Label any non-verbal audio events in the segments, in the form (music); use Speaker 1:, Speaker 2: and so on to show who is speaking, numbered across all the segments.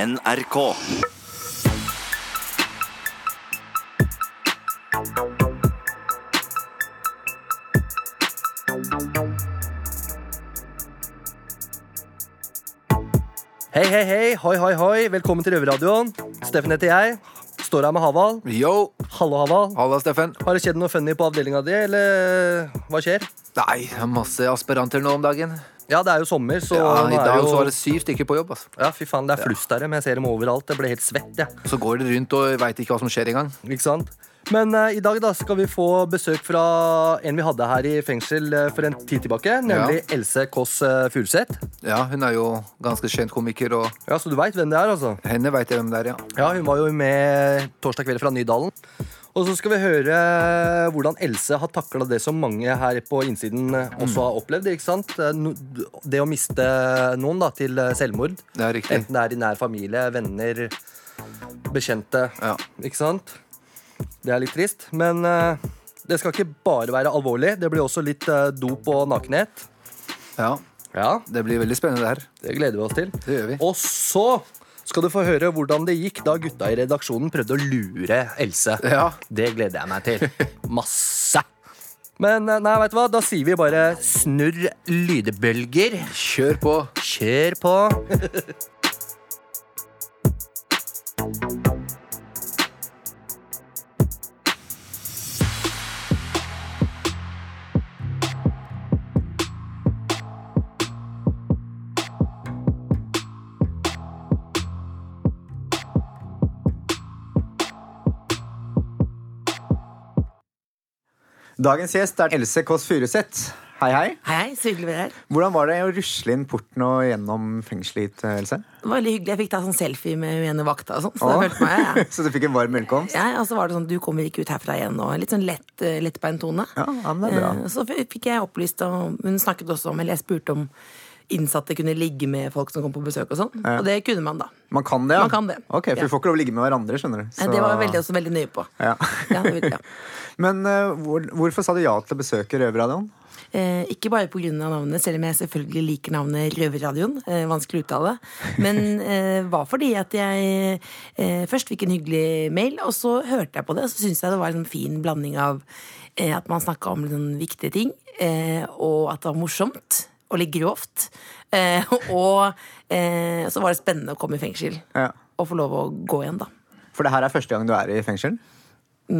Speaker 1: NRK.
Speaker 2: Hei, hei, hei, hoi, hoi, hoi. Velkommen til Røverradioen. Steffen heter jeg. Står her med Haval.
Speaker 3: Yo!
Speaker 2: Hallo, Haval.
Speaker 3: Halla, Steffen.
Speaker 2: Har det skjedd noe funny på avdelinga di, eller hva skjer?
Speaker 3: Nei, det er masse aspiranter nå om dagen.
Speaker 2: Ja, det er jo sommer, så
Speaker 3: Ja,
Speaker 2: nå
Speaker 3: I
Speaker 2: er
Speaker 3: dag
Speaker 2: jo...
Speaker 3: så var det syv stykker på jobb. Altså.
Speaker 2: Ja, fy faen, det er flust der, men jeg ser dem overalt. Jeg ble helt svett, jeg.
Speaker 3: Så går de rundt og veit ikke hva som skjer engang.
Speaker 2: Ikke sant? Men eh, i dag da skal vi få besøk fra en vi hadde her i fengsel eh, for en tid tilbake, nemlig Else Kåss eh, Furuseth.
Speaker 3: Ja, Hun er jo ganske kjent komiker, og
Speaker 2: Ja, så du veit hvem det er, altså.
Speaker 3: henne veit jeg hvem det er, ja.
Speaker 2: Ja, hun var jo med torsdag kveld fra Nydalen. Og så skal vi høre hvordan Else har takla det som mange her på innsiden også har opplevd. ikke sant? No- Det å miste noen da, til selvmord.
Speaker 3: Det er riktig.
Speaker 2: Enten det er i nær familie, venner, bekjente.
Speaker 3: Ja.
Speaker 2: Ikke sant? Det er litt trist. Men eh, det skal ikke bare være alvorlig. Det blir også litt eh, dop og nakenhet.
Speaker 3: ja.
Speaker 2: Ja,
Speaker 3: Det blir veldig spennende, det her.
Speaker 2: det gleder vi oss til.
Speaker 3: Det gjør vi.
Speaker 2: Og så skal du få høre hvordan det gikk da gutta i redaksjonen prøvde å lure Else.
Speaker 3: Ja.
Speaker 2: Det gleder jeg meg til. Masse. Men eh, nei, vet du hva? da sier vi bare snurr lydbølger.
Speaker 3: Kjør på.
Speaker 2: Kjør på.
Speaker 4: Dagens gjest er Else Kåss Furuseth. Hei, hei.
Speaker 5: Hei, så hyggelig å være her.
Speaker 4: Hvordan var det å rusle inn porten og gjennom fengselet hit, Else? (laughs)
Speaker 5: Det var veldig hyggelig. Jeg fikk ta sånn selfie med hun ene vakta og sånn. Så
Speaker 4: Å.
Speaker 5: det følte meg, ja.
Speaker 4: så du fikk en varm velkomst?
Speaker 5: ja, og så var det sånn, du kommer ikke ut herfra igjen nå. Litt sånn lett, eh, lettbeint tone.
Speaker 4: Ja, ja, men det er bra.
Speaker 5: Eh, Så f- fikk jeg opplyst, og hun snakket også om, eller jeg spurte om innsatte kunne ligge med folk som kom på besøk og sånn. Og det kunne man da.
Speaker 4: Man kan det, ja?
Speaker 5: Man kan det.
Speaker 4: Ok, For
Speaker 5: Ja.
Speaker 4: vi får ikke lov å ligge med hverandre, skjønner du.
Speaker 5: Eh,
Speaker 4: Så-
Speaker 5: Det var jeg veldig, også veldig nøye på.
Speaker 4: Ja.
Speaker 5: Ja, det
Speaker 4: (laughs)
Speaker 5: vil- ja.
Speaker 4: Men eh, hvor, hvorfor sa du ja til å besøke Røverradioen?
Speaker 5: Eh, ikke bare pga. navnet, selv om jeg selvfølgelig liker navnet Røverradioen. Eh, vanskelig å uttale. Men eh, var fordi at jeg eh, først fikk en hyggelig mail, og så hørte jeg på det. Og så syntes jeg det var en sånn fin blanding av eh, at man snakka om litt sånn viktige ting, eh, og at det var morsomt. Og litt grovt. Eh, og eh, så var det spennende å komme i fengsel.
Speaker 4: Ja.
Speaker 5: Og få lov å gå igjen, da.
Speaker 4: For det her er første gang du er i fengsel?
Speaker 5: Ja,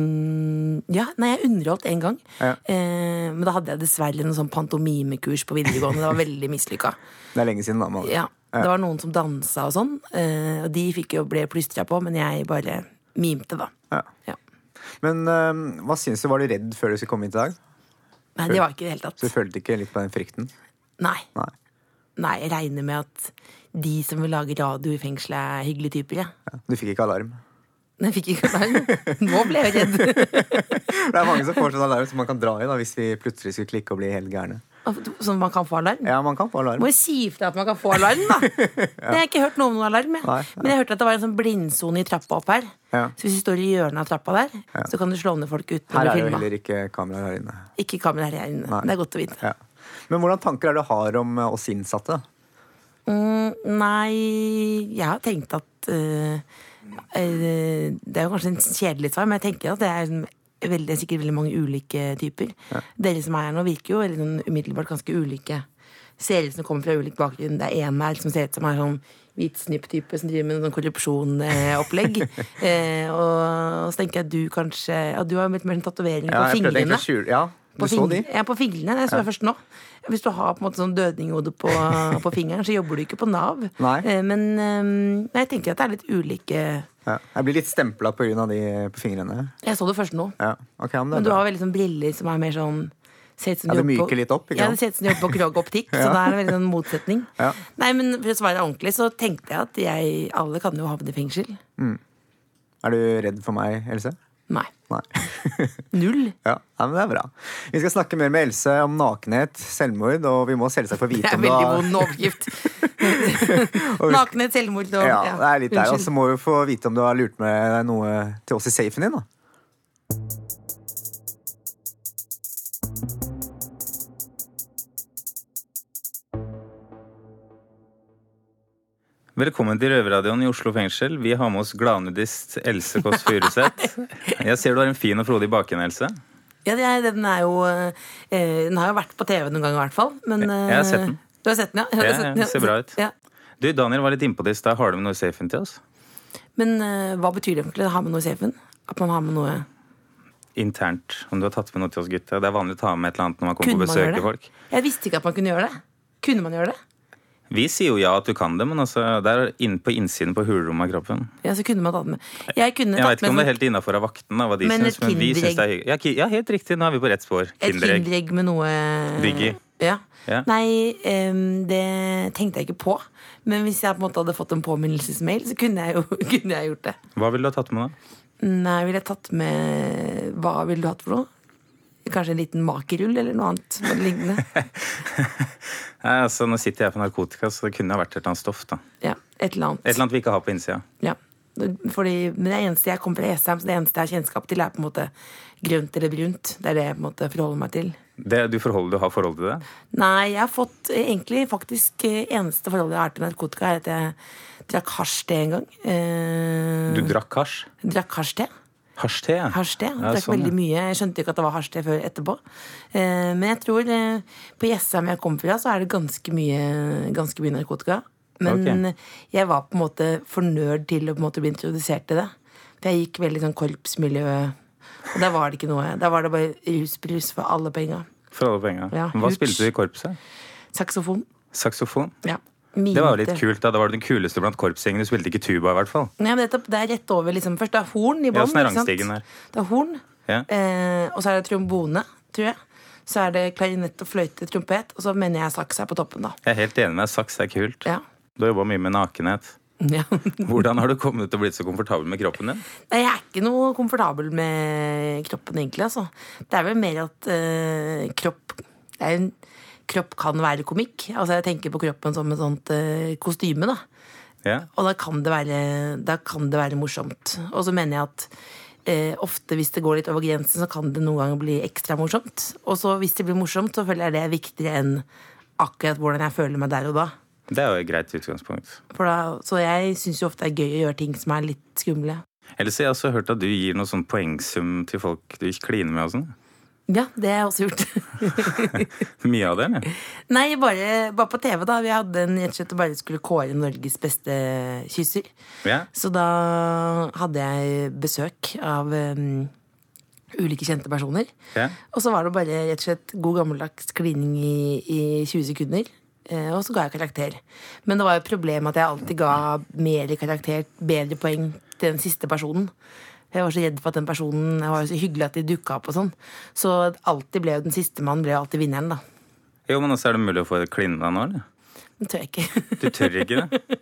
Speaker 5: nei, jeg underholdt en gang.
Speaker 4: Ja.
Speaker 5: Eh, men da hadde jeg dessverre noen sånn pantomimekurs på videregående. Det var veldig mislykka.
Speaker 4: Det er lenge siden, da. Man.
Speaker 5: Ja, det var noen som dansa og sånn. eh, Og de fikk jo ble plystra på, men jeg bare mimte, da.
Speaker 4: Ja.
Speaker 5: Ja.
Speaker 4: Men eh, hva syns du? Var du redd før du skulle komme hit i dag?
Speaker 5: Nei, det var ikke i det hele
Speaker 4: Så du
Speaker 5: tatt.
Speaker 4: følte ikke litt på den frykten?
Speaker 5: Nei.
Speaker 4: Nei.
Speaker 5: Nei, jeg regner med at de som vil lage radio i fengselet, er hyggelige typer, ja.
Speaker 4: Ja. Du fikk ikke alarm?
Speaker 5: Men jeg fikk ikke (laughs) alarm. Nå ble jeg redd.
Speaker 4: Det er mange som får sånn alarm som man kan dra i da, hvis vi plutselig skulle klikke og bli helt gærne.
Speaker 5: Sånn at man kan få alarm.
Speaker 4: Ja, man kan få alarm.
Speaker 5: Må jo si ifra at man kan få alarm,
Speaker 4: (laughs)
Speaker 5: da. Det har jeg ikke hørt noe om noen alarm. Jeg.
Speaker 4: Nei,
Speaker 5: Men jeg hørte at det var en sånn blindsone i trappa opp her.
Speaker 4: Ja.
Speaker 5: Så hvis du står i hjørnet av trappa der, så kan du slå ned folk uten å bli
Speaker 4: Her er det jo
Speaker 5: filma.
Speaker 4: heller ikke kameraer her inne.
Speaker 5: Ikke kamera her inne.
Speaker 4: Nei.
Speaker 5: Det er godt å vite.
Speaker 4: Ja. Men hvordan tanker er det du har om eh, oss innsatte?
Speaker 5: Mm, Nei, jeg har tenkt at eh, eh, Det er jo kanskje en kjedelig svar, men jeg tenker at det er sånn veldig, sikkert veldig mange ulike typer. Dere som er her nå, virker jo veldig sånn umiddelbart ganske ulike. Ser ut som de kommer fra ulik bakgrunn. Det er en her som ser ut som er sånn hvit snipp-type som driver med noe sånn
Speaker 4: (laughs)
Speaker 5: korrupsjonopplegg. eh, og så tenker jeg at du kanskje Ja, du har jo litt mer sånn tatoveringer på
Speaker 4: jeg prøvde
Speaker 5: fingrene.
Speaker 4: egentlig å skjule Ja, du
Speaker 5: På
Speaker 4: så de?
Speaker 5: fing- Ja, på fingrene. Jeg så det først nå. Hvis du har på en måte sånn dødninghode
Speaker 4: (laughs)
Speaker 5: på, på fingeren, så jobber du ikke på Nav.
Speaker 4: Nei.
Speaker 5: Eh, Men ehm, jeg tenker at det er litt ulike
Speaker 4: Ja. Jeg blir litt stempla pga. de på fingrene.
Speaker 5: Jeg så det først nå.
Speaker 4: Ja. Ok, ja, men
Speaker 5: Men
Speaker 4: det er
Speaker 5: du
Speaker 4: bra.
Speaker 5: har veldig sånn briller som er mer sånn ser ut som
Speaker 4: Ja,
Speaker 5: du
Speaker 4: det
Speaker 5: jobber på-
Speaker 4: myker litt opp, ikke
Speaker 5: Ja, det
Speaker 4: sant?
Speaker 5: ser ut som du jobber på
Speaker 4: (laughs)
Speaker 5: Krog Optikk, så det er en veldig sånn motsetning.
Speaker 4: Ja.
Speaker 5: Nei, men for å svare ordentlig, så tenkte jeg at jeg Alle kan jo havne i fengsel.
Speaker 4: Er du redd for meg, Else?
Speaker 5: Nei.
Speaker 4: Nei.
Speaker 5: Null.
Speaker 4: Ja, ja, men det er bra. Vi skal snakke mer med Else om nakenhet, selvmord, og vi må selvsagt få
Speaker 5: Det
Speaker 4: vite
Speaker 5: er en
Speaker 4: om du
Speaker 5: veldig
Speaker 4: har-
Speaker 5: vond
Speaker 4: (laughs)
Speaker 5: overskrift. (laughs) Nakenhet, selvmord og
Speaker 4: Ja,
Speaker 5: ja,
Speaker 4: det er litt der. altså. Og
Speaker 5: unnskyld.
Speaker 4: så må vi få vite om du har lurt med deg noe til oss i safen din, da.
Speaker 1: Velkommen til Røverradioen i Oslo fengsel. Vi har med oss gladnudist Else Kåss Furuseth.
Speaker 5: (laughs)
Speaker 1: Jeg ser du har en fin og frodig baken, Else.
Speaker 5: Ja, det er, den er jo eh, Den har jo vært på TV noen ganger, i hvert fall. Men,
Speaker 1: Jeg har sett den.
Speaker 5: eh, Du har sett den, ja? Jeg har
Speaker 1: Ja,
Speaker 5: sett den,
Speaker 1: ja, ser bra ut.
Speaker 5: Ja.
Speaker 1: Du, Daniel var litt innpå det i stad. Har du med noe i safen til oss?
Speaker 5: Men eh, hva betyr det egentlig å ha med noe i safen? At man har med noe
Speaker 1: Internt. Om du har tatt med noe til oss gutta. Det er vanlig å ta med et eller annet når man kommer
Speaker 5: Kunne
Speaker 1: på
Speaker 5: man
Speaker 1: besøk
Speaker 5: gjøre det?
Speaker 1: til folk.
Speaker 5: Jeg visste ikke at man kunne gjøre det. Kunne man gjøre det?
Speaker 1: Vi sier jo ja at du kan det, men altså, det er inn på innsiden på hulrommet av kroppen.
Speaker 5: Ja, så kunne man tatt den med. Jeg kunne
Speaker 1: Jeg
Speaker 5: tatt
Speaker 1: veit
Speaker 5: med
Speaker 1: ikke om
Speaker 5: sånn
Speaker 1: det er helt innafor av vaktene, hva de
Speaker 5: Men
Speaker 1: syns,
Speaker 5: et
Speaker 1: men vi syns det er
Speaker 5: kinderegg.
Speaker 1: hyggelig. Ja, ki- ja, helt riktig. Nå er vi på rett spor.
Speaker 5: et
Speaker 1: Kinderegg.
Speaker 5: kinderegg med noe eh,
Speaker 1: Digg i.
Speaker 5: Ja.
Speaker 1: Ja.
Speaker 5: Nei, em, det tenkte jeg ikke på. Men hvis jeg på en måte hadde fått en påminnelsesmail, så kunne jeg jo (laughs) kunne jeg gjort det.
Speaker 1: Hva ville du ha tatt med, da? (laughs)
Speaker 5: Nei, ville jeg tatt med Hva ville du hatt for noe? Kanskje en liten makerull eller noe annet noe
Speaker 1: (laughs)
Speaker 5: lignende.
Speaker 1: Nei, altså, nå sitter jeg på narkotika, så det kunne ha vært et eller annet stoff. da.
Speaker 5: Ja, et eller annet.
Speaker 1: Et eller annet vi ikke har på innsida.
Speaker 5: Ja. Fordi, men det eneste jeg kommer fra Esheim, så det eneste jeg har kjennskap til, er på en måte grønt eller brunt. Det er det jeg på en måte forholder meg til.
Speaker 1: Det, du, forholder, du har forhold til det?
Speaker 5: Nei, jeg har fått eh, egentlig faktisk eh, eneste forholdet jeg har til narkotika, er at jeg drakk hasjte en gang. Eh,
Speaker 1: Du drakk hasj?
Speaker 5: drakk hasjte.
Speaker 1: Hasjte? ja.
Speaker 5: Hasjte. Jeg
Speaker 1: Ja,
Speaker 5: drakk
Speaker 1: sånn, ja.
Speaker 5: veldig mye. Jeg skjønte ikke at det var hasjte før etterpå. Eh, men jeg tror eh, på Jessheim jeg kommer fra, så er det ganske mye, ganske mye narkotika. Men
Speaker 1: Ok.
Speaker 5: jeg var på en måte for nerd til å på en måte bli introdusert til det. For jeg gikk veldig sånn korpsmiljø, og der var det ikke noe. Der var det bare rusbrus for alle penga.
Speaker 1: For alle penga.
Speaker 5: Ja,
Speaker 1: Hva
Speaker 5: hurt.
Speaker 1: spilte du i korpset?
Speaker 5: Saksofon.
Speaker 1: Saksofon?
Speaker 5: Ja.
Speaker 1: Det var jo litt
Speaker 5: Mimete.
Speaker 1: kult. da, Da var du den kuleste blant korpsgjengen. Du spilte ikke tuba, i hvert fall.
Speaker 5: Nei, men nettopp, det er rett over, liksom. Først det er horn i
Speaker 1: Ja,
Speaker 5: bånn.
Speaker 1: sånn er
Speaker 5: ikke sant?
Speaker 1: rangstigen her.
Speaker 5: Det er horn,
Speaker 1: Ja.
Speaker 5: eh, og så er det trombone, tror jeg. Så er det klarinett og fløyte, trompet, og så mener jeg saks er på toppen, da.
Speaker 1: Jeg er helt enig med deg. Saks er kult.
Speaker 5: Ja.
Speaker 1: Du har jobba mye med nakenhet.
Speaker 5: Ja.
Speaker 1: Hvordan har du kommet til å bli så komfortabel med kroppen din?
Speaker 5: Nei, Jeg er ikke noe komfortabel med kroppen, egentlig. Altså. Det er vel mer at eh, kropp det er en, Kropp kan være komikk. Altså, jeg tenker på kroppen som et sånt eh, kostyme, da.
Speaker 1: Ja.
Speaker 5: Og da kan det være, da kan det være morsomt. Og så mener jeg at eh, ofte hvis det går litt over grensen, så kan det noen ganger bli ekstra morsomt. Og så hvis det blir morsomt, så føler jeg det er viktigere enn akkurat hvordan jeg føler meg der og da.
Speaker 1: Det er jo et greit utgangspunkt.
Speaker 5: For da så jeg syns jo ofte det er gøy å gjøre ting som er litt skumle.
Speaker 1: Ellers har jeg også hørt at du gir noe sånn poengsum til folk du ikke kliner med og sånn.
Speaker 5: Ja, det har jeg også gjort. (laughs)
Speaker 1: Mye av det, eller?
Speaker 5: Nei, bare, bare på TV, da. Vi hadde en rett og slett og bare skulle kåre Norges beste kysser.
Speaker 1: Ja.
Speaker 5: Så da hadde jeg besøk av em, ulike kjente personer.
Speaker 1: Ja.
Speaker 5: Og så var det bare rett og slett god gammeldags klining i, i 20 sekunder. Eh, og så ga jeg karakter. Men det var jo et problem at jeg alltid ga mer karakter, bedre poeng, til den siste personen. Jeg var så redd for at den personen Jeg var jo så hyggelig at de dukka opp og sånn. Så alltid ble jo den siste mann ble jo alltid vinneren, da.
Speaker 1: Jo, men også er det mulig å få kline med deg nå, eller?
Speaker 5: Det tør jeg ikke.
Speaker 1: Du tør ikke det?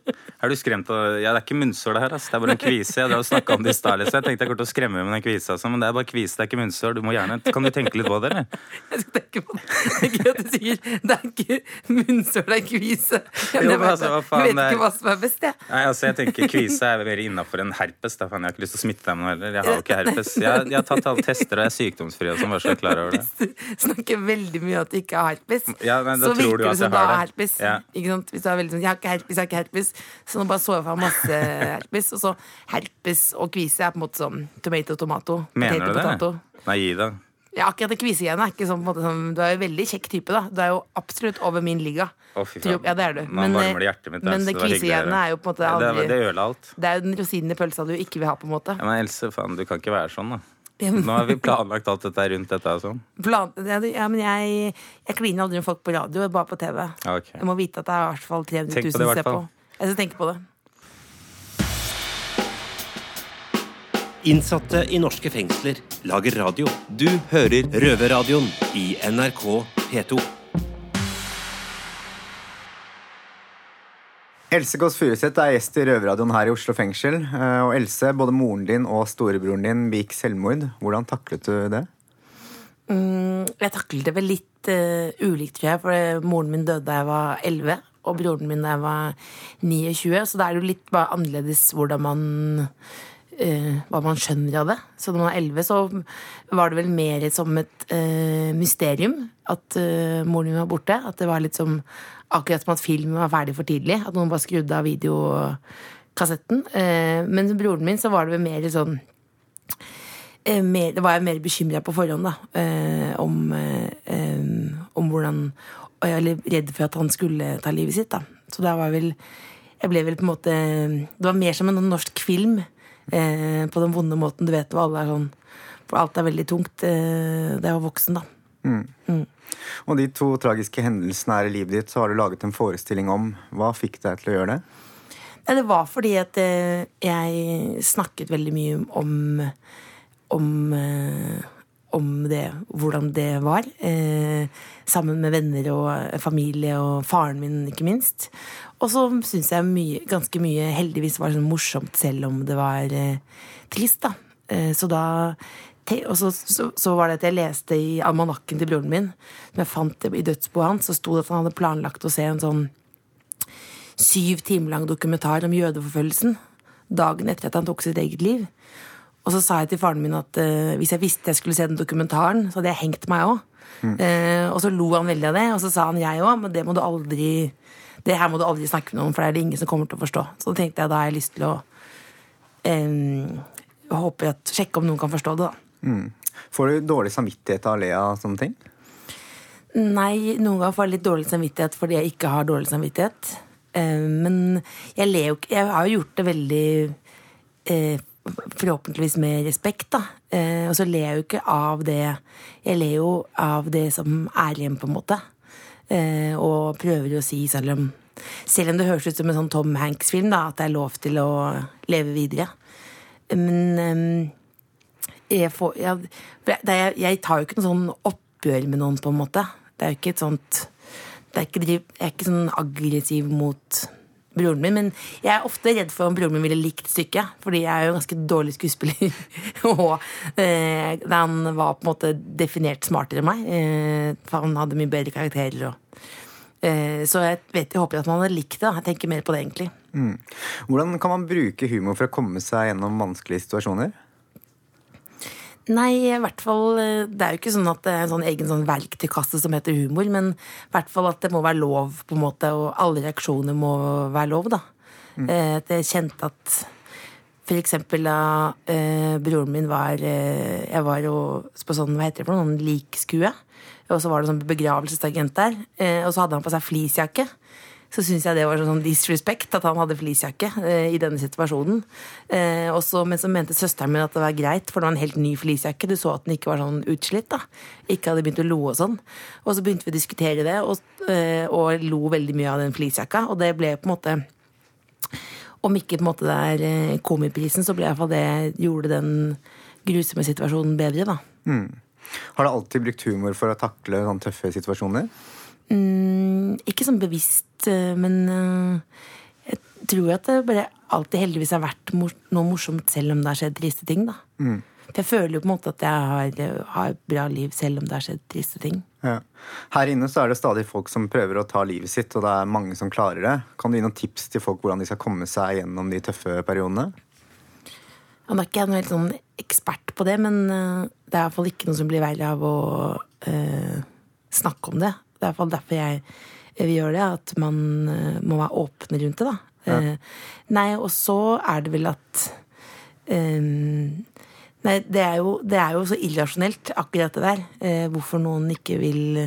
Speaker 1: Er du skremt av Ja, det er ikke munnsår, det her. ass. Det er bare en kvise. Jeg drev og snakket om det i stad, liksom. Jeg tenkte jeg kom til å skremme med den kvisa, altså. men det er bare kvise, det er ikke munnsår. Du må gjerne Kan du tenke litt på det, eller?
Speaker 5: (laughs) Jeg skal tenke på det. Det er gøy at du sier det er ikke munnsår, det er kvise. Jeg
Speaker 1: Jo,
Speaker 5: vet,
Speaker 1: men altså, hva faen,
Speaker 5: jeg vet
Speaker 1: det er-
Speaker 5: ikke hva som er best, jeg.
Speaker 1: Nei, altså, jeg tenker kvise er mer innafor enn herpes. Da. faen, Jeg har ikke lyst til å smitte deg med noe heller. Jeg har jo ikke herpes. Jeg, jeg har tatt alle tester, og jeg er sykdomsfri og sånn, bare så jeg er klar over det.
Speaker 5: Hvis du snakker veldig mye at du ikke har herpes,
Speaker 1: Ja, men da
Speaker 5: så
Speaker 1: tror du
Speaker 5: virker
Speaker 1: at
Speaker 5: det som
Speaker 1: jeg
Speaker 5: du
Speaker 1: har
Speaker 5: har
Speaker 1: det.
Speaker 5: herpes.
Speaker 1: Ja.
Speaker 5: Ikke sant? Hvis du er veldig sånn 'jeg har ikke herpes, jeg har ikke herpes', så nå bare så jeg for meg masse herpes. Og så herpes og kvise er på en måte sånn tomato, tomato.
Speaker 1: Mener
Speaker 5: potato,
Speaker 1: du det?
Speaker 5: potato.
Speaker 1: Nei, gi deg.
Speaker 5: Ja, akkurat det kvisegreiene er ikke sånn på en måte sånn Du er jo en veldig kjekk type, da. Du er jo absolutt over min liga.
Speaker 1: Å, fy
Speaker 5: Tror-
Speaker 1: faen.
Speaker 5: Ja, det er du.
Speaker 1: Nå varmer det
Speaker 5: eh,
Speaker 1: hjertet mitt.
Speaker 5: men det
Speaker 1: ass. var hyggelig å høre.
Speaker 5: kvisegreiene er jo på en måte
Speaker 1: Nei,
Speaker 5: aldri
Speaker 1: Det, det ødela alt.
Speaker 5: Det er jo den rosinen i pølsa du ikke vil ha, på en måte.
Speaker 1: Ja, men Else, faen, du kan ikke være sånn, da. Nå har vi planlagt alt dette rundt dette og sånn.
Speaker 5: Plan ja, du- ja, men jeg, jeg kliner aldri med folk på radio, bare på TV.
Speaker 1: Ja, ok.
Speaker 5: Jeg må vite at det er i hvert fall 300 000
Speaker 1: Tenk på det i
Speaker 5: som
Speaker 1: hvert
Speaker 5: ser på.
Speaker 1: fall.
Speaker 5: Jeg skal tenke på det.
Speaker 6: Innsatte i norske fengsler lager radio. Du hører Røverradioen i NRK P2.
Speaker 4: Else Kåss Furuseth er gjest i Røverradioen her i Oslo fengsel. Eh, Og Else, både moren din og storebroren din begikk selvmord. Hvordan taklet du det?
Speaker 5: Jeg taklet det vel litt eh, ulikt, tror jeg. For eh, moren min døde da jeg var 11, og broren min da jeg var 29. Så da er det jo litt bare annerledes hvordan man eh, hva man skjønner av det. Så da man var elleve, så var det vel mer som et eh, mysterium at eh, moren min var borte. At det var litt som akkurat som at filmen var ferdig for tidlig. At noen bare skrudde av videokassetten. Eh, men broren min så var det vel mer sånn eh, mer, da var jeg mer bekymra på forhånd, da. Eh, om, eh, eh, om hvordan og jeg var redd for at han skulle ta livet sitt, da. Så da var jeg vel Jeg ble vel på en måte Det var mer som en norsk film. Eh, på den vonde måten, du vet hvor alle er sånn For alt er veldig tungt. Eh, da jeg var voksen, da.
Speaker 4: Og de to tragiske hendelsene her i livet ditt, så har du laget en forestilling om. Hva fikk deg til å gjøre det?
Speaker 5: Nei, det var fordi at eh, jeg snakket veldig mye om om, eh, om det, hvordan det var. Eh, sammen med venner og eh, familie og faren min, ikke minst. Og så syns jeg mye, ganske mye heldigvis var sånn morsomt, selv om det var eh, trist, da. Eh, så da te, Og så, så, så var det at jeg leste i almanakken til broren min, som jeg fant i dødsboet hans, så sto det at han hadde planlagt å se en sånn syv timer lang dokumentar om jødeforfølgelsen dagen etter at han tok sitt eget liv. Og så sa jeg til faren min at eh, hvis jeg visste jeg skulle se den dokumentaren, så hadde jeg hengt meg òg. og så lo han veldig av det, og så sa han jeg òg, men det må du aldri det her må du aldri snakke med noen, for det er det ingen som kommer til å forstå. Så da tenkte jeg da har jeg lyst til å eh, håpe at, sjekke om noen kan forstå det, da.
Speaker 4: Får du dårlig samvittighet av å le av sånne ting?
Speaker 5: Nei, noen ganger får jeg litt dårlig samvittighet fordi jeg ikke har dårlig samvittighet. Eh, Men jeg ler jo ikke Jeg har jo gjort det veldig eh, Forhåpentligvis med respekt, da. Eh, Og så ler jeg jo ikke av det Jeg ler jo av det som er igjen, på en måte. Eh, Og prøver å si, selv om Selv om det høres ut som en sånn Tom Hanks-film, da, at det er lov til å leve videre. Men ehm, jeg, får, jeg, for det er, jeg tar jo ikke noe sånn oppgjør med noen, på en måte. Det er jo ikke et sånt det er ikke driv, Jeg er ikke sånn aggressiv mot broren min, men jeg er ofte redd for om broren min ville likt stykket. Fordi jeg er jo en ganske dårlig skuespiller. (laughs) og eh, han var på en måte definert smartere enn meg. Eh, for han hadde mye bedre karakterer og eh, Så jeg, vet, jeg håper at han hadde likt det. da. Jeg tenker mer på det, egentlig.
Speaker 4: Mm. Hvordan kan man bruke humor for å komme seg gjennom vanskelige situasjoner?
Speaker 5: Nei, i hvert fall eh, Det er jo ikke sånn at det er en sånn egen sånn verktøykasse som heter humor, men i hvert fall at det må være lov, på en måte, og alle reaksjoner må være lov, da. Eh, At jeg kjente at for eksempel da eh, broren min var eh, Jeg var jo på sånn, hva heter det for noe, noen likskue. Og så var det sånn begravelsesagent der. Eh, og så hadde han på seg fleecejakke. Så syns jeg det var sånn disrespect at han hadde fleecejakke eh, i denne situasjonen. Eh, og så, men så mente søsteren min at det var greit, for det var en helt ny fleecejakke. Du så at den ikke var sånn utslitt. da. Ikke hadde begynt å lo og sånn. Og så begynte vi å diskutere det, og, eh, og lo veldig mye av den fleecejakka. Og det ble på en måte om ikke på en måte det er eh, komiprisen, så ble i hvert fall det gjorde den grusomme situasjonen bedre, da.
Speaker 4: Har du alltid brukt humor for å takle sånne tøffe situasjoner?
Speaker 5: Mm, ikke sånn bevisst, eh, men eh, jeg tror at det bare alltid heldigvis har vært mor noe morsomt selv om det har skjedd triste ting, da. For jeg føler jo på en måte at jeg har, eh, har et bra liv selv om det har skjedd triste ting.
Speaker 4: Ja. Her inne så er det stadig folk som prøver å ta livet sitt, og det er mange som klarer det. Kan du gi noen tips til folk hvordan de skal komme seg gjennom de tøffe periodene?
Speaker 5: Ja, Nå er ikke jeg noe helt sånn ekspert på det, men eh, det er i hvert fall ikke noe som blir verre av å eh, snakke om det. Det er i hvert fall derfor jeg jeg vil gjøre det, at man eh, må være åpne rundt det, da. Eh, nei, og så er det vel at eh, Nei, det er, jo, det er jo så irrasjonelt, akkurat det der. Eh, hvorfor noen ikke vil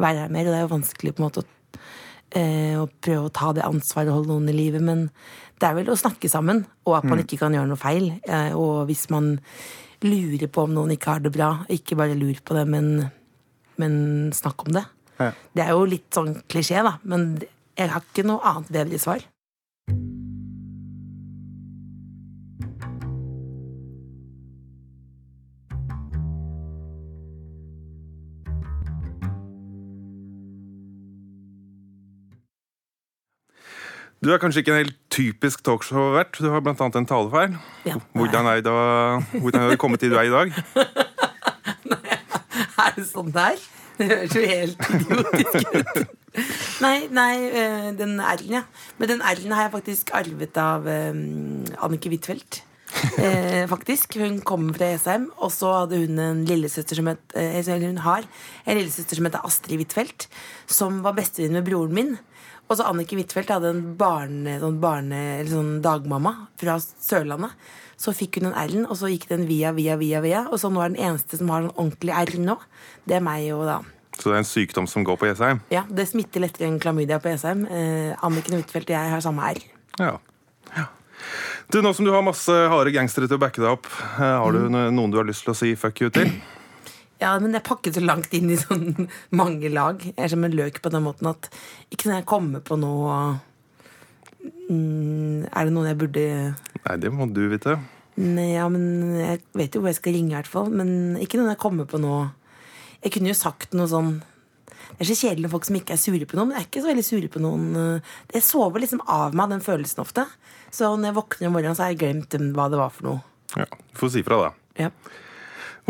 Speaker 5: være her mer. Og det er jo vanskelig på en måte å eh, å prøve å ta det ansvaret og holde noen i livet, men det er vel å snakke sammen, og at man ikke kan gjøre noe feil. Eh, og hvis man lurer på om noen ikke har det bra, ikke bare lur på det, men, men snakk om det.
Speaker 4: Ja.
Speaker 5: Det er jo litt sånn klisjé, da, men jeg har ikke noe annet bedre svar. (laughs)
Speaker 7: Du er kanskje ikke en helt typisk talkshow-vert. Du har blant annet en talefeil.
Speaker 5: Ja.
Speaker 7: Hvordan er det, hvordan har du kommet til du er i dag?
Speaker 5: Er det sånn der? Det høres jo helt idiotisk ut. Nei, nei, eh, den R-en, ja. Men den R-en har jeg faktisk arvet av eh, Annike Huitfeldt. eh, faktisk. Hun kommer fra Jessheim, og så hadde hun en lillesøster som het eh, eller Hun har en lillesøster som heter Astrid Huitfeldt, som var bestevenninne med broren min. Og så Annike Huitfeldt hadde en barne, sånn barne, eller sånn dagmamma fra Sørlandet. Så fikk hun en R-en, og så gikk den via, via, via. via Og så nå er den eneste som har en ordentlig R nå, det er meg og da
Speaker 7: Så det er en sykdom som går på Jessheim?
Speaker 5: ja, Det smitter lettere enn klamydia på Jessheim. Eh, Anniken Huitfeldt og jeg har samme R.
Speaker 7: Ja. Ja. Du, Nå som du har masse harde gangstere til å backe deg opp, eh, har du no- noen du har lyst til å si fuck you til?
Speaker 5: Ja, men jeg pakket så langt inn i sånn (laughs) mange lag. Jeg er som en løk på den måten at ikke når jeg kommer på noe mm, Er det noen jeg burde
Speaker 7: Nei, det må du vite.
Speaker 5: Nei, Ja, men jeg vet jo hvor jeg skal ringe, i hvert fall. Men ikke noen jeg kommer på noe Jeg kunne jo sagt noe sånn det er så kjedelig med folk som ikke er sure på noen. Jeg er ikke så veldig sure på noen. Jeg sover liksom av meg den følelsen ofte. Så når jeg våkner om morgenen, så har jeg glemt um, hva det var for noe.
Speaker 7: Ja, Du får si fra, da.
Speaker 5: Ja.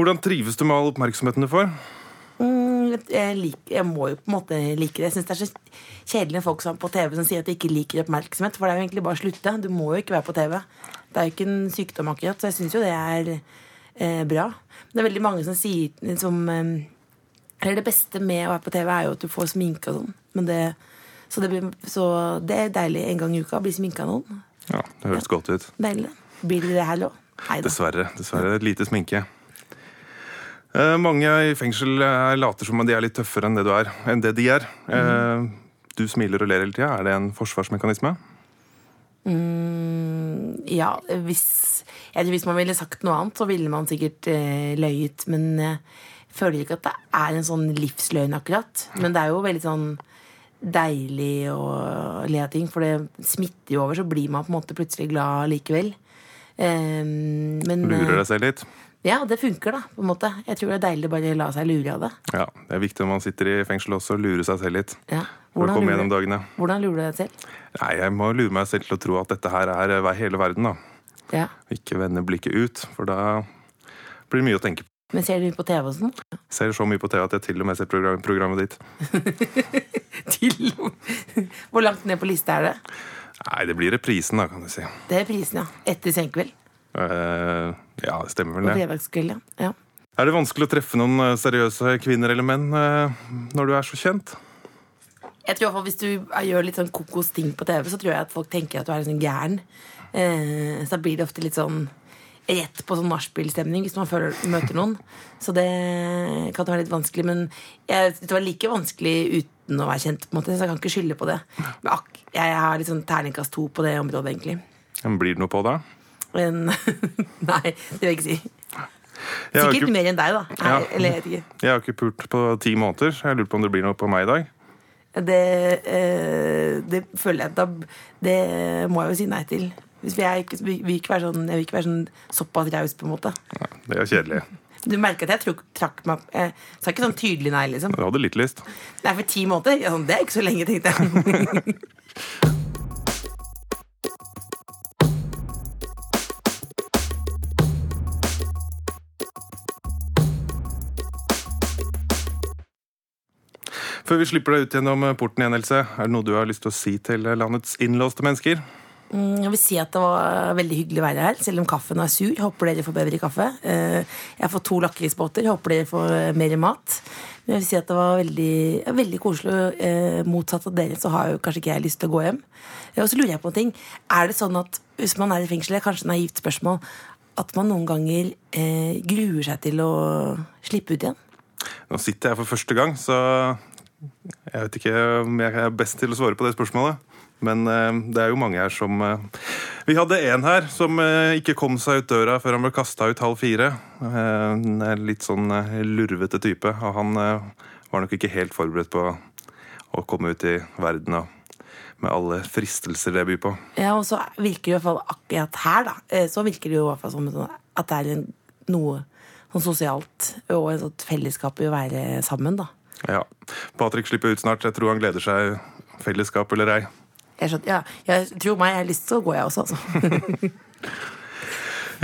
Speaker 7: Hvordan trives du med all oppmerksomheten du får?
Speaker 5: Mm, jeg, lik- jeg må jo på en måte like det. Jeg synes det er så kjedelig med folk som er på TV som sier at de ikke liker oppmerksomhet. For det er jo egentlig bare å slutte. Du må jo ikke være på TV. Det er jo ikke en sykdom akkurat, så jeg syns jo det er eh, bra. Men det er veldig mange som sier som eh, Eller det beste med å være på TV er jo at du får sminke og sånn. Men det, så, det blir, så det er deilig en gang i uka å bli sminka av noen.
Speaker 7: Ja, Det høres godt ut.
Speaker 5: Deilig. Blir det det her òg? Nei da.
Speaker 7: Dessverre. dessverre, Et lite sminke. Eh, mange i fengsel eh, later som om de er litt tøffere enn det du er. Enn det de er. Eh, du smiler og ler hele tida. Er det en forsvarsmekanisme?
Speaker 5: Ja, hvis, eller hvis man ville sagt noe annet, så ville man sikkert eh, løyet. Men eh, jeg føler ikke at det er en sånn livsløgn, akkurat. Men det er jo veldig sånn deilig å le av ting, for det smitter jo over. Så blir man på en måte plutselig glad likevel. Eh, men
Speaker 7: Lurer
Speaker 5: eh,
Speaker 7: deg selv litt?
Speaker 5: ja, det funker, da. på en måte Jeg tror det er deilig å bare la seg lure av det.
Speaker 7: Ja, Det er viktig når man sitter i fengsel også, å lure seg selv litt.
Speaker 5: Ja.
Speaker 7: For å komme gjennom
Speaker 5: lurer,
Speaker 7: dagene.
Speaker 5: hvordan lurer du deg selv?
Speaker 7: Nei, Jeg må lure meg selv til å tro at dette her er eh, hele verden. da.
Speaker 5: Ja.
Speaker 7: Ikke vende blikket ut, for da blir det mye å tenke på.
Speaker 5: Men ser du på TV og
Speaker 7: (laughs)
Speaker 5: sånn?
Speaker 7: Ser så mye på TV at jeg til og med ser program programmet ditt.
Speaker 5: Til (laughs) Hvor langt ned på lista er det?
Speaker 7: Nei, det blir reprisen, da, kan du si.
Speaker 5: Det er prisen, ja. Etter senkveld.
Speaker 7: Eh, ja, det stemmer vel
Speaker 5: På
Speaker 7: det.
Speaker 5: fredagskveld, ja. ja.
Speaker 7: Er det vanskelig å treffe noen eh, seriøse kvinner eller menn eh, når du er så kjent?
Speaker 5: Jeg tror i hvert fall Hvis du gjør litt sånn kokos ting på TV, så tror jeg at folk tenker at du er litt sånn gæren. Eh, så da blir det ofte litt sånn rett på sånn nachspiel-stemning hvis man føler, møter noen. Så det kan være litt vanskelig. Men jeg, det var like vanskelig uten å være kjent, på en måte, så jeg kan ikke skylde på det. Men ak jeg har litt sånn terningkast to på det området, egentlig.
Speaker 7: Men Blir det noe på da?
Speaker 5: Men (laughs) nei, det vil jeg ikke si.
Speaker 7: Jeg har,
Speaker 5: Sikkert
Speaker 7: ikke,
Speaker 5: mer enn deg, da. Nei,
Speaker 7: Ja.
Speaker 5: Eller jeg vet ikke.
Speaker 7: jeg har ikke pult på ti måneder, så jeg lurer på om det blir noe på meg i dag.
Speaker 5: Det, eh, det føler jeg at da Det må jeg jo si nei til. Hvis jeg, ikke, vi- vil ikke være sånn, jeg vil ikke være sånn såpass raus, på en måte.
Speaker 7: Det er kjedelig.
Speaker 5: Du merker at jeg trukk- trakk meg Jeg sa ikke sånn tydelig nei, liksom.
Speaker 7: Du hadde litt lyst.
Speaker 5: Nei, for ti måneder? Ja, sånn, det er ikke så lenge, tenkte jeg.
Speaker 7: Før vi slipper deg ut gjennom eh, porten igjen, Else, er det noe du har lyst til å si til eh, landets innlåste mennesker?
Speaker 5: Mm, Jeg vil si at det var veldig hyggelig å være her, selv om kaffen er sur. Håper dere får bedre kaffe. Eh, Jeg har fått to lakrisbåter. Håper dere får eh, mer mat. Men jeg vil si at det var veldig, ja, veldig koselig. Eh, Motsatt av dere så har jo kanskje ikke jeg lyst til å gå hjem. Eh, Og så lurer jeg på en ting. Er det sånn at hvis man er i fengsel, det er kanskje et naivt spørsmål, at man noen ganger eh, gruer seg til å slippe ut igjen?
Speaker 7: Nå sitter jeg for første gang, så jeg vet ikke om jeg er best til å svare på det spørsmålet. Men eh, det er jo mange her som eh, Vi hadde en her som eh, ikke kom seg ut døra før han ble kasta ut halv fire. Eh, En litt sånn eh, lurvete type. Og han eh, var nok ikke helt forberedt på å komme ut i verden og med alle fristelser det byr på.
Speaker 5: Ja, og så virker det i hvert fall akkurat her, da. eh, Så virker det jo i hvert fall som en sånn at det er en, noe sånn sosialt og et sånt fellesskap i å være sammen, da.
Speaker 7: Ja. Patrick slipper ut snart. Jeg tror han gleder seg. Fellesskap eller ei.
Speaker 5: Jeg, skjønner, ja, jeg tror meg, jeg har lyst til å gå, jeg også, altså.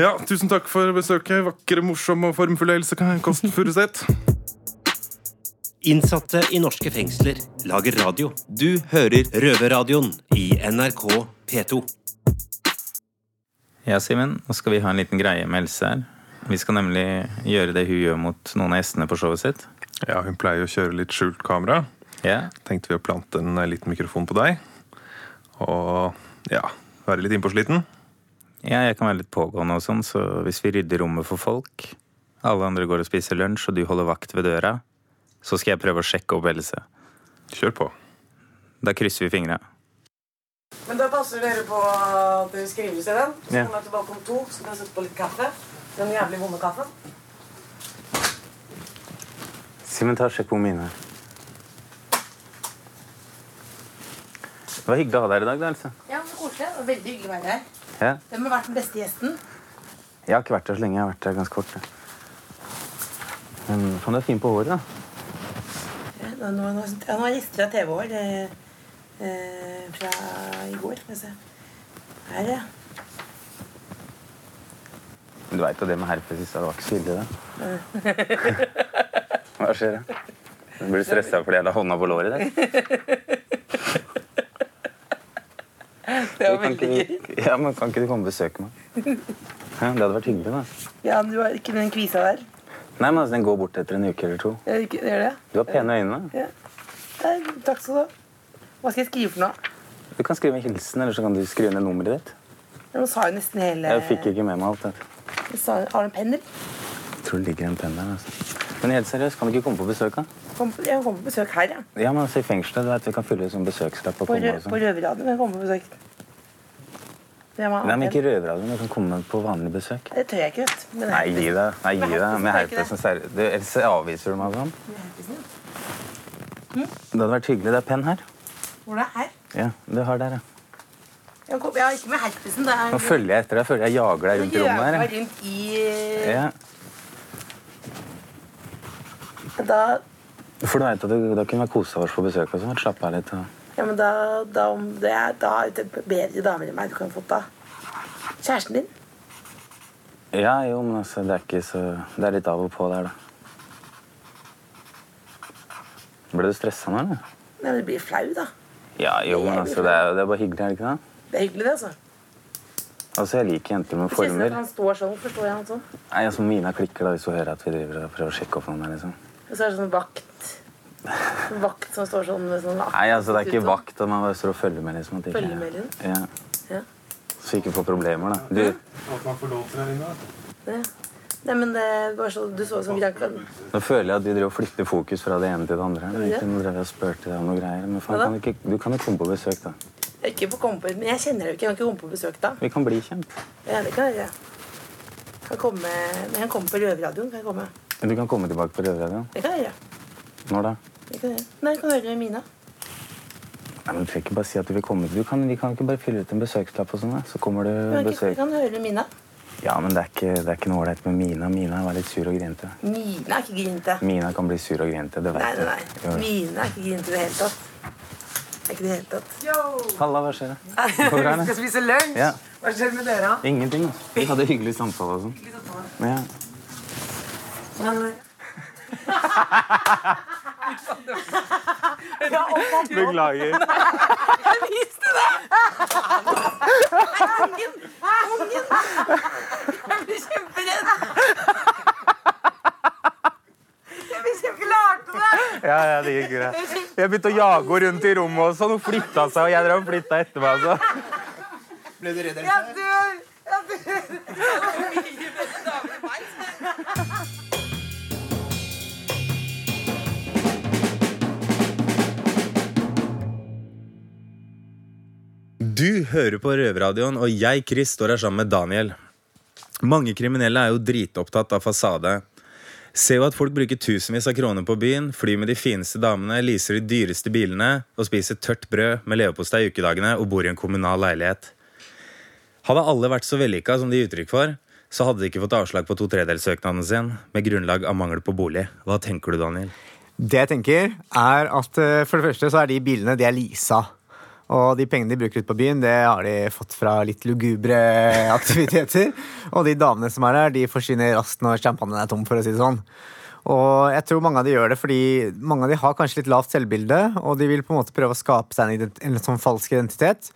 Speaker 7: Ja, tusen takk for besøket. Vakre, morsom og formfulle Else Kåss Furuseth.
Speaker 6: Innsatte i norske fengsler lager radio. Du hører Røverradioen i NRK P2.
Speaker 1: Ja, Simen, nå skal vi ha en liten greie med Else her. Vi skal nemlig gjøre det hun gjør mot noen av gjestene på showet sitt.
Speaker 7: Ja, hun pleier å kjøre litt skjult kamera.
Speaker 1: Ja,
Speaker 7: Tenkte vi å plante en eh, liten mikrofon på deg. Og ja, være litt innpåsliten.
Speaker 1: ja jeg kan være litt pågående og sånn, så hvis vi rydder rommet for folk, alle andre går og spiser lunsj, og du holder vakt ved døra, så skal jeg prøve å sjekke opp Else.
Speaker 7: Kjør på.
Speaker 1: Da krysser vi fingra.
Speaker 8: Men da passer dere på at dere skrives i den. Så
Speaker 1: Ja.
Speaker 8: kommer jeg til balkong to, så kan jeg sette på litt kaffe. Den jævlig vonde kaffen.
Speaker 1: Simen, ta og sjekk hvor mine er. Det var hyggelig å ha deg her i dag, da, Else.
Speaker 5: (laughs) Ja, så koselig. og Veldig hyggelig å være her.
Speaker 1: Ja.
Speaker 5: Hvem har vært den beste gjesten?
Speaker 1: Jeg har ikke vært der så lenge. Jeg har vært der ganske kort. jeg. Men faen, du er fin på håret, da.
Speaker 5: Ja, nå, nå, nå, ja, nå er gjester fra TV år. Eh, eh, fra i går. Skal vi se. Her, ja.
Speaker 1: Men Du veit jo det med herpes i stad. Det var ikke så ille, det. Hva skjer? da? Du blir stressa fordi jeg la hånda på låret i dag.
Speaker 5: Det var
Speaker 1: Kan ikke
Speaker 5: veldig gøy.
Speaker 1: du- Ja, men kan ikke du komme og besøke meg? Hæ, det hadde vært hyggelig, da.
Speaker 5: Ja, du har ikke den kvisa der.
Speaker 1: Nei, men altså, Den går bort etter en uke eller to.
Speaker 5: Gjør ikke- gjør det?
Speaker 1: Du har pene øyne.
Speaker 5: Ja. Nei, takk skal du ha. Hva skal jeg skrive for noe?
Speaker 1: Du kan skrive en hilsen, eller så kan du skrive ned nummeret ditt.
Speaker 5: Ja, Nå sa jo nesten hele
Speaker 1: Jeg fikk ikke med meg alt dette.
Speaker 5: sa, Har du en penner?
Speaker 1: Jeg tror det ligger en penn der. altså. Men helt seriøst, kan du ikke komme på besøk? da?
Speaker 5: Kom, på- jeg kommer på besøk her, ja.
Speaker 1: Ja, men altså i fengselet, du vet, Vi kan fylle ut som besøkslapp. og
Speaker 5: På,
Speaker 1: komme
Speaker 5: rø
Speaker 1: og
Speaker 5: på
Speaker 1: sånn.
Speaker 5: Røverradioen. Jeg kommer på besøk. Jeg må ha
Speaker 1: Nei, men
Speaker 5: penn.
Speaker 1: Ikke røverradioen. Du kan komme på vanlig besøk.
Speaker 5: Det tør jeg ikke, vet du. Men
Speaker 1: Nei, gi
Speaker 5: herpes-
Speaker 1: deg. Nei, gi deg. Med herpesen,
Speaker 5: herpesen
Speaker 1: seriøst. sånn Du, Ellers avviser du meg sånn. Det hadde vært hyggelig. Det er penn her.
Speaker 5: Hvor er det her?
Speaker 1: Ja, du har der, ja.
Speaker 5: Jeg kom, ja, ikke med herpesen. Det er
Speaker 1: Nå følger jeg etter deg. Følger jeg jager deg rundt i rommet her.
Speaker 5: Gjør meg
Speaker 1: jeg.
Speaker 5: rundt i
Speaker 1: Ja.
Speaker 5: da,
Speaker 1: For du vet at du, da kunne vi kose oss på besøk og sånn. Slappe av litt. Og...
Speaker 5: ja, men da, da, om det er, da er det bedre damer enn meg du kan få da. Kjæresten din?
Speaker 1: Ja, jo, men altså, det er ikke så Det er litt av og på der, da. Ble du stressa nå, eller?
Speaker 5: Nei, men Du blir flau, da.
Speaker 1: Ja, jo, men altså, det er, det er bare hyggelig, er det ikke det?
Speaker 5: Det er hyggelig, det. altså.
Speaker 1: Altså, Jeg liker jenter med
Speaker 5: Kjæresten
Speaker 1: former.
Speaker 5: at han står sånn, forstår jeg han sånn.
Speaker 1: Nei, altså, Mina klikker da hvis hun hører at vi driver og prøver å sjekke opp noen her. liksom.
Speaker 5: Og så er det sånn vakt. Sånn Vakt som står sånn med sånn
Speaker 1: Nei, altså, Det er ikke vakt at man bare står og følger med. liksom. At det ikke,
Speaker 5: Følger med, liksom?
Speaker 1: Ja.
Speaker 5: Ja.
Speaker 1: Så vi ikke får problemer, da. Du,
Speaker 7: At man får lov til det inne.
Speaker 5: Ja. Nei, men det var så, Du så ut som Granca.
Speaker 1: nå føler jeg at du driver og flytter fokus fra det ene til det andre. her.
Speaker 5: Ja.
Speaker 1: Ikke noe drev jeg og spurte deg om noe greier. Men faen,
Speaker 5: Hva da?
Speaker 1: kan du, ikke, du kan jo komme på besøk, da.
Speaker 5: Jeg er Ikke på komme på, men jeg kjenner deg jo ikke. Jeg kan ikke komme på besøk da.
Speaker 1: Vi kan bli kjent.
Speaker 5: Ja, det kan jeg gjøre. Kan komme, men jeg kan komme på Røverradioen. Kan jeg komme?
Speaker 1: Du kan komme tilbake på Røverradioen.
Speaker 5: Det kan jeg gjøre.
Speaker 1: Når da?
Speaker 5: Det kan jeg gjøre. Nei, jeg kan høre Mina.
Speaker 1: Nei, men Du trenger ikke bare si at du vil komme. Du kan, vi kan ikke bare fylle ut en besøkslapp og sånn, da. Så kommer du
Speaker 5: Jeg kan, ikke, jeg
Speaker 1: besøk.
Speaker 5: kan høre Mina.
Speaker 1: Ja, men det er ikke, det er ikke noe ålreit med Mina. Mina var litt sur og grinete.
Speaker 5: Mina er ikke grinte.
Speaker 1: Mina kan bli sur og grinete. Det
Speaker 5: Nei, nei,
Speaker 1: vet du.
Speaker 5: nei.
Speaker 1: Jo, jo.
Speaker 5: Mina er ikke grinte i det hele tatt. Det er ikke i det hele tatt.
Speaker 1: Halla, hva skjer? Vi skal spise lunsj. Ja. Hva skjer med dere? Ingenting. altså. Vi hadde hyggelig samtale og sånn. Ja. Beklager.
Speaker 8: Ah,
Speaker 1: Ja, ja, det gikk greit. Jeg begynte å jage henne rundt i rommet og sånn. Hun flytta seg, og jeg drev og flytta etter meg. Altså. Du hører på Røverradioen, og jeg, Chris, står her sammen med Daniel. Mange kriminelle er jo dritopptatt av fasade. Ser jo at folk bruker tusenvis av kroner på byen, flyr med de fineste damene, leaser de dyreste bilene og spiser tørt brød med leverpostei i ukedagene og bor i en kommunal leilighet. Hadde alle vært så vellykka som de gir uttrykk for, så hadde de ikke fått avslag på to tredelssøknaden sin med grunnlag av mangel på bolig. Hva tenker du, Daniel?
Speaker 4: Det jeg tenker, er at eh, for det første så er de bilene de er leasa. Og de pengene de bruker ute på byen, det har de fått fra litt lugubre (laughs) aktiviteter. og de damene som er her, de forsvinner raskt når champagnen er tom, for å si det sånn. Og jeg tror mange av de gjør det fordi mange av de har kanskje litt lavt selvbilde, og de vil på en måte prøve å skape seg en, ident- en sånn falsk identitet.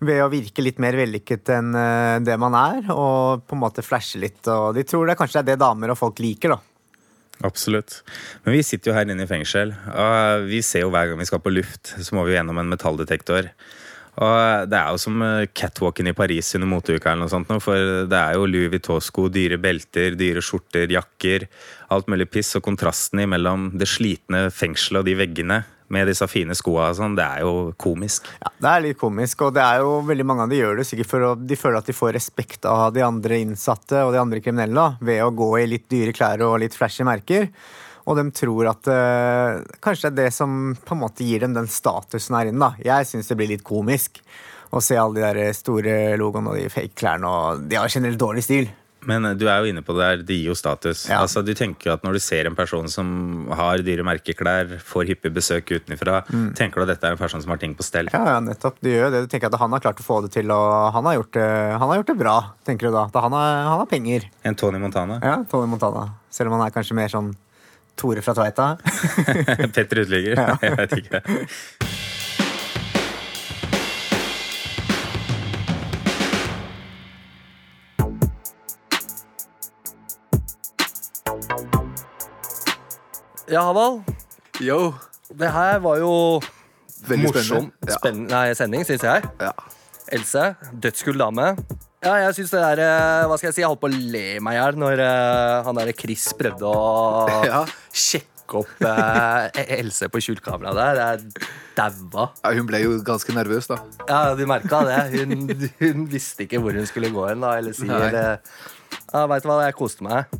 Speaker 4: ved å virke litt mer vellykket enn eh, det man er, og på en måte flashe litt. Og de tror det kanskje er det damer og folk liker, da.
Speaker 1: Absolutt. Men vi sitter jo her inne i fengsel. Og vi ser jo hver gang vi skal på luft, så må vi gjennom en metalldetektor. Og det er jo som eh, catwalken i Paris under moteuka eller noe sånt nå, for det er jo Louis Vuitton-sko, dyre belter, dyre skjorter, jakker, alt mulig piss, og kontrasten imellom det slitne fengselet og de veggene med disse fine skoa og sånn, det er jo komisk.
Speaker 4: Ja, det er litt komisk, og det er jo veldig mange av de gjør det sikkert for å, de føler at de får respekt av de andre innsatte og de andre kriminelle da, ved å gå i litt dyre klær og litt flashy merker. Og de tror at eh, kanskje det er det som på en måte gir dem den statusen her inne. da. Jeg syns det blir litt komisk å se alle de der store logoene og de fake klærne. og De har generelt dårlig stil.
Speaker 1: Men eh, du er jo inne på det her, det gir jo status.
Speaker 4: Ja.
Speaker 1: Altså, du tenker jo at når du ser en person som har dyre merkeklær, får hyppig besøk utenfra, tenker du at dette er en person som har ting på stell.
Speaker 4: Mm. Ja, ja, nettopp. De gjør jo det. Du tenker at han har klart å få det til, og han har gjort det, han har gjort det bra, tenker du da. Da han har, han har penger.
Speaker 1: En Tony Montana.
Speaker 4: Ja, Tony Montana. Selv om han er kanskje mer sånn Tore fra Tveita.
Speaker 1: Petter Uteligger. (laughs) Jeg vet ikke.
Speaker 2: Ja, Haval.
Speaker 3: Yo.
Speaker 2: Det her var jo
Speaker 3: Veldig
Speaker 2: morsom
Speaker 3: spennende. Ja.
Speaker 2: spennende. Nei, sending, syns jeg.
Speaker 3: Ja.
Speaker 2: Else, dødskull dame. Ja, jeg syns det der eh, Hva skal jeg si? Jeg holdt på å le meg i hjel når eh, han der Chris prøvde å
Speaker 3: (laughs) Ja.
Speaker 2: sjekke opp eh, Else på skjult kamera der. Jeg daua.
Speaker 3: Ja, hun ble jo ganske nervøs, da.
Speaker 2: Ja, du merka det. Hun, hun visste ikke hvor hun skulle gå hen, da. Eller si
Speaker 3: Nei.
Speaker 2: eller, ja, Veit du hva, jeg koste meg.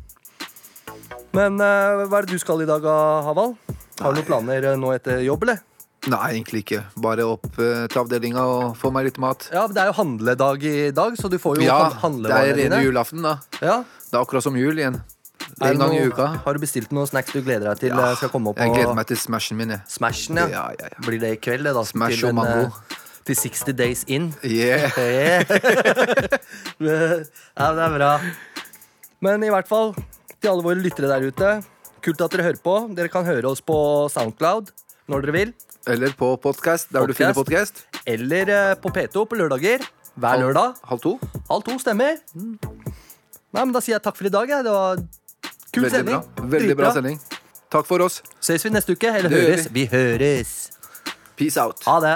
Speaker 2: Men eh, hva er det du skal i dag, ah, Haval? Har du noen planer eh, nå etter jobb, eller?
Speaker 3: Nei, egentlig ikke. Bare opp eh, til avdelinga og få meg litt mat.
Speaker 2: Ja, men Det er jo handledag i dag, så du får jo
Speaker 3: Ja,
Speaker 2: han-
Speaker 3: det er
Speaker 2: handlevarene
Speaker 3: rene
Speaker 2: dine.
Speaker 3: julaften, da.
Speaker 2: Ja.
Speaker 3: Det er akkurat som jul igjen. Det
Speaker 2: Er det
Speaker 3: er en gang i
Speaker 2: noe-
Speaker 3: uka.
Speaker 2: Har du bestilt noen snacks du gleder deg til eh, skal komme opp?
Speaker 3: Jeg gleder
Speaker 2: og-
Speaker 3: meg til smashen min, jeg.
Speaker 2: Smashen, ja.
Speaker 3: Ja, ja, ja.
Speaker 2: Blir det i kveld, det, da?
Speaker 3: Smash
Speaker 2: til
Speaker 3: og
Speaker 2: eh,
Speaker 3: mango.
Speaker 2: Til 60 Days In. Eh.
Speaker 3: Yeah.
Speaker 2: (laughs) ja, det er bra. Men i hvert fall, til alle våre lyttere der ute, kult at dere hører på. Dere kan høre oss på Soundcloud når dere vil,
Speaker 3: (laughs) Eller på podkast, der hvor du finner podkast.
Speaker 2: eller eh, på P2 på lørdager. Hver lørdag.
Speaker 3: Halv to.
Speaker 2: Halv to stemmer. Nei, men Da sier jeg takk for i dag. Jeg. Det var kul
Speaker 3: Veldig bra.
Speaker 2: sending.
Speaker 3: Veldig
Speaker 2: Dritbra.
Speaker 3: bra sending. Takk for oss.
Speaker 2: Ses vi neste uke, eller
Speaker 3: Det gjør
Speaker 2: høres? Vi høres.
Speaker 3: Peace out.
Speaker 2: Ha det.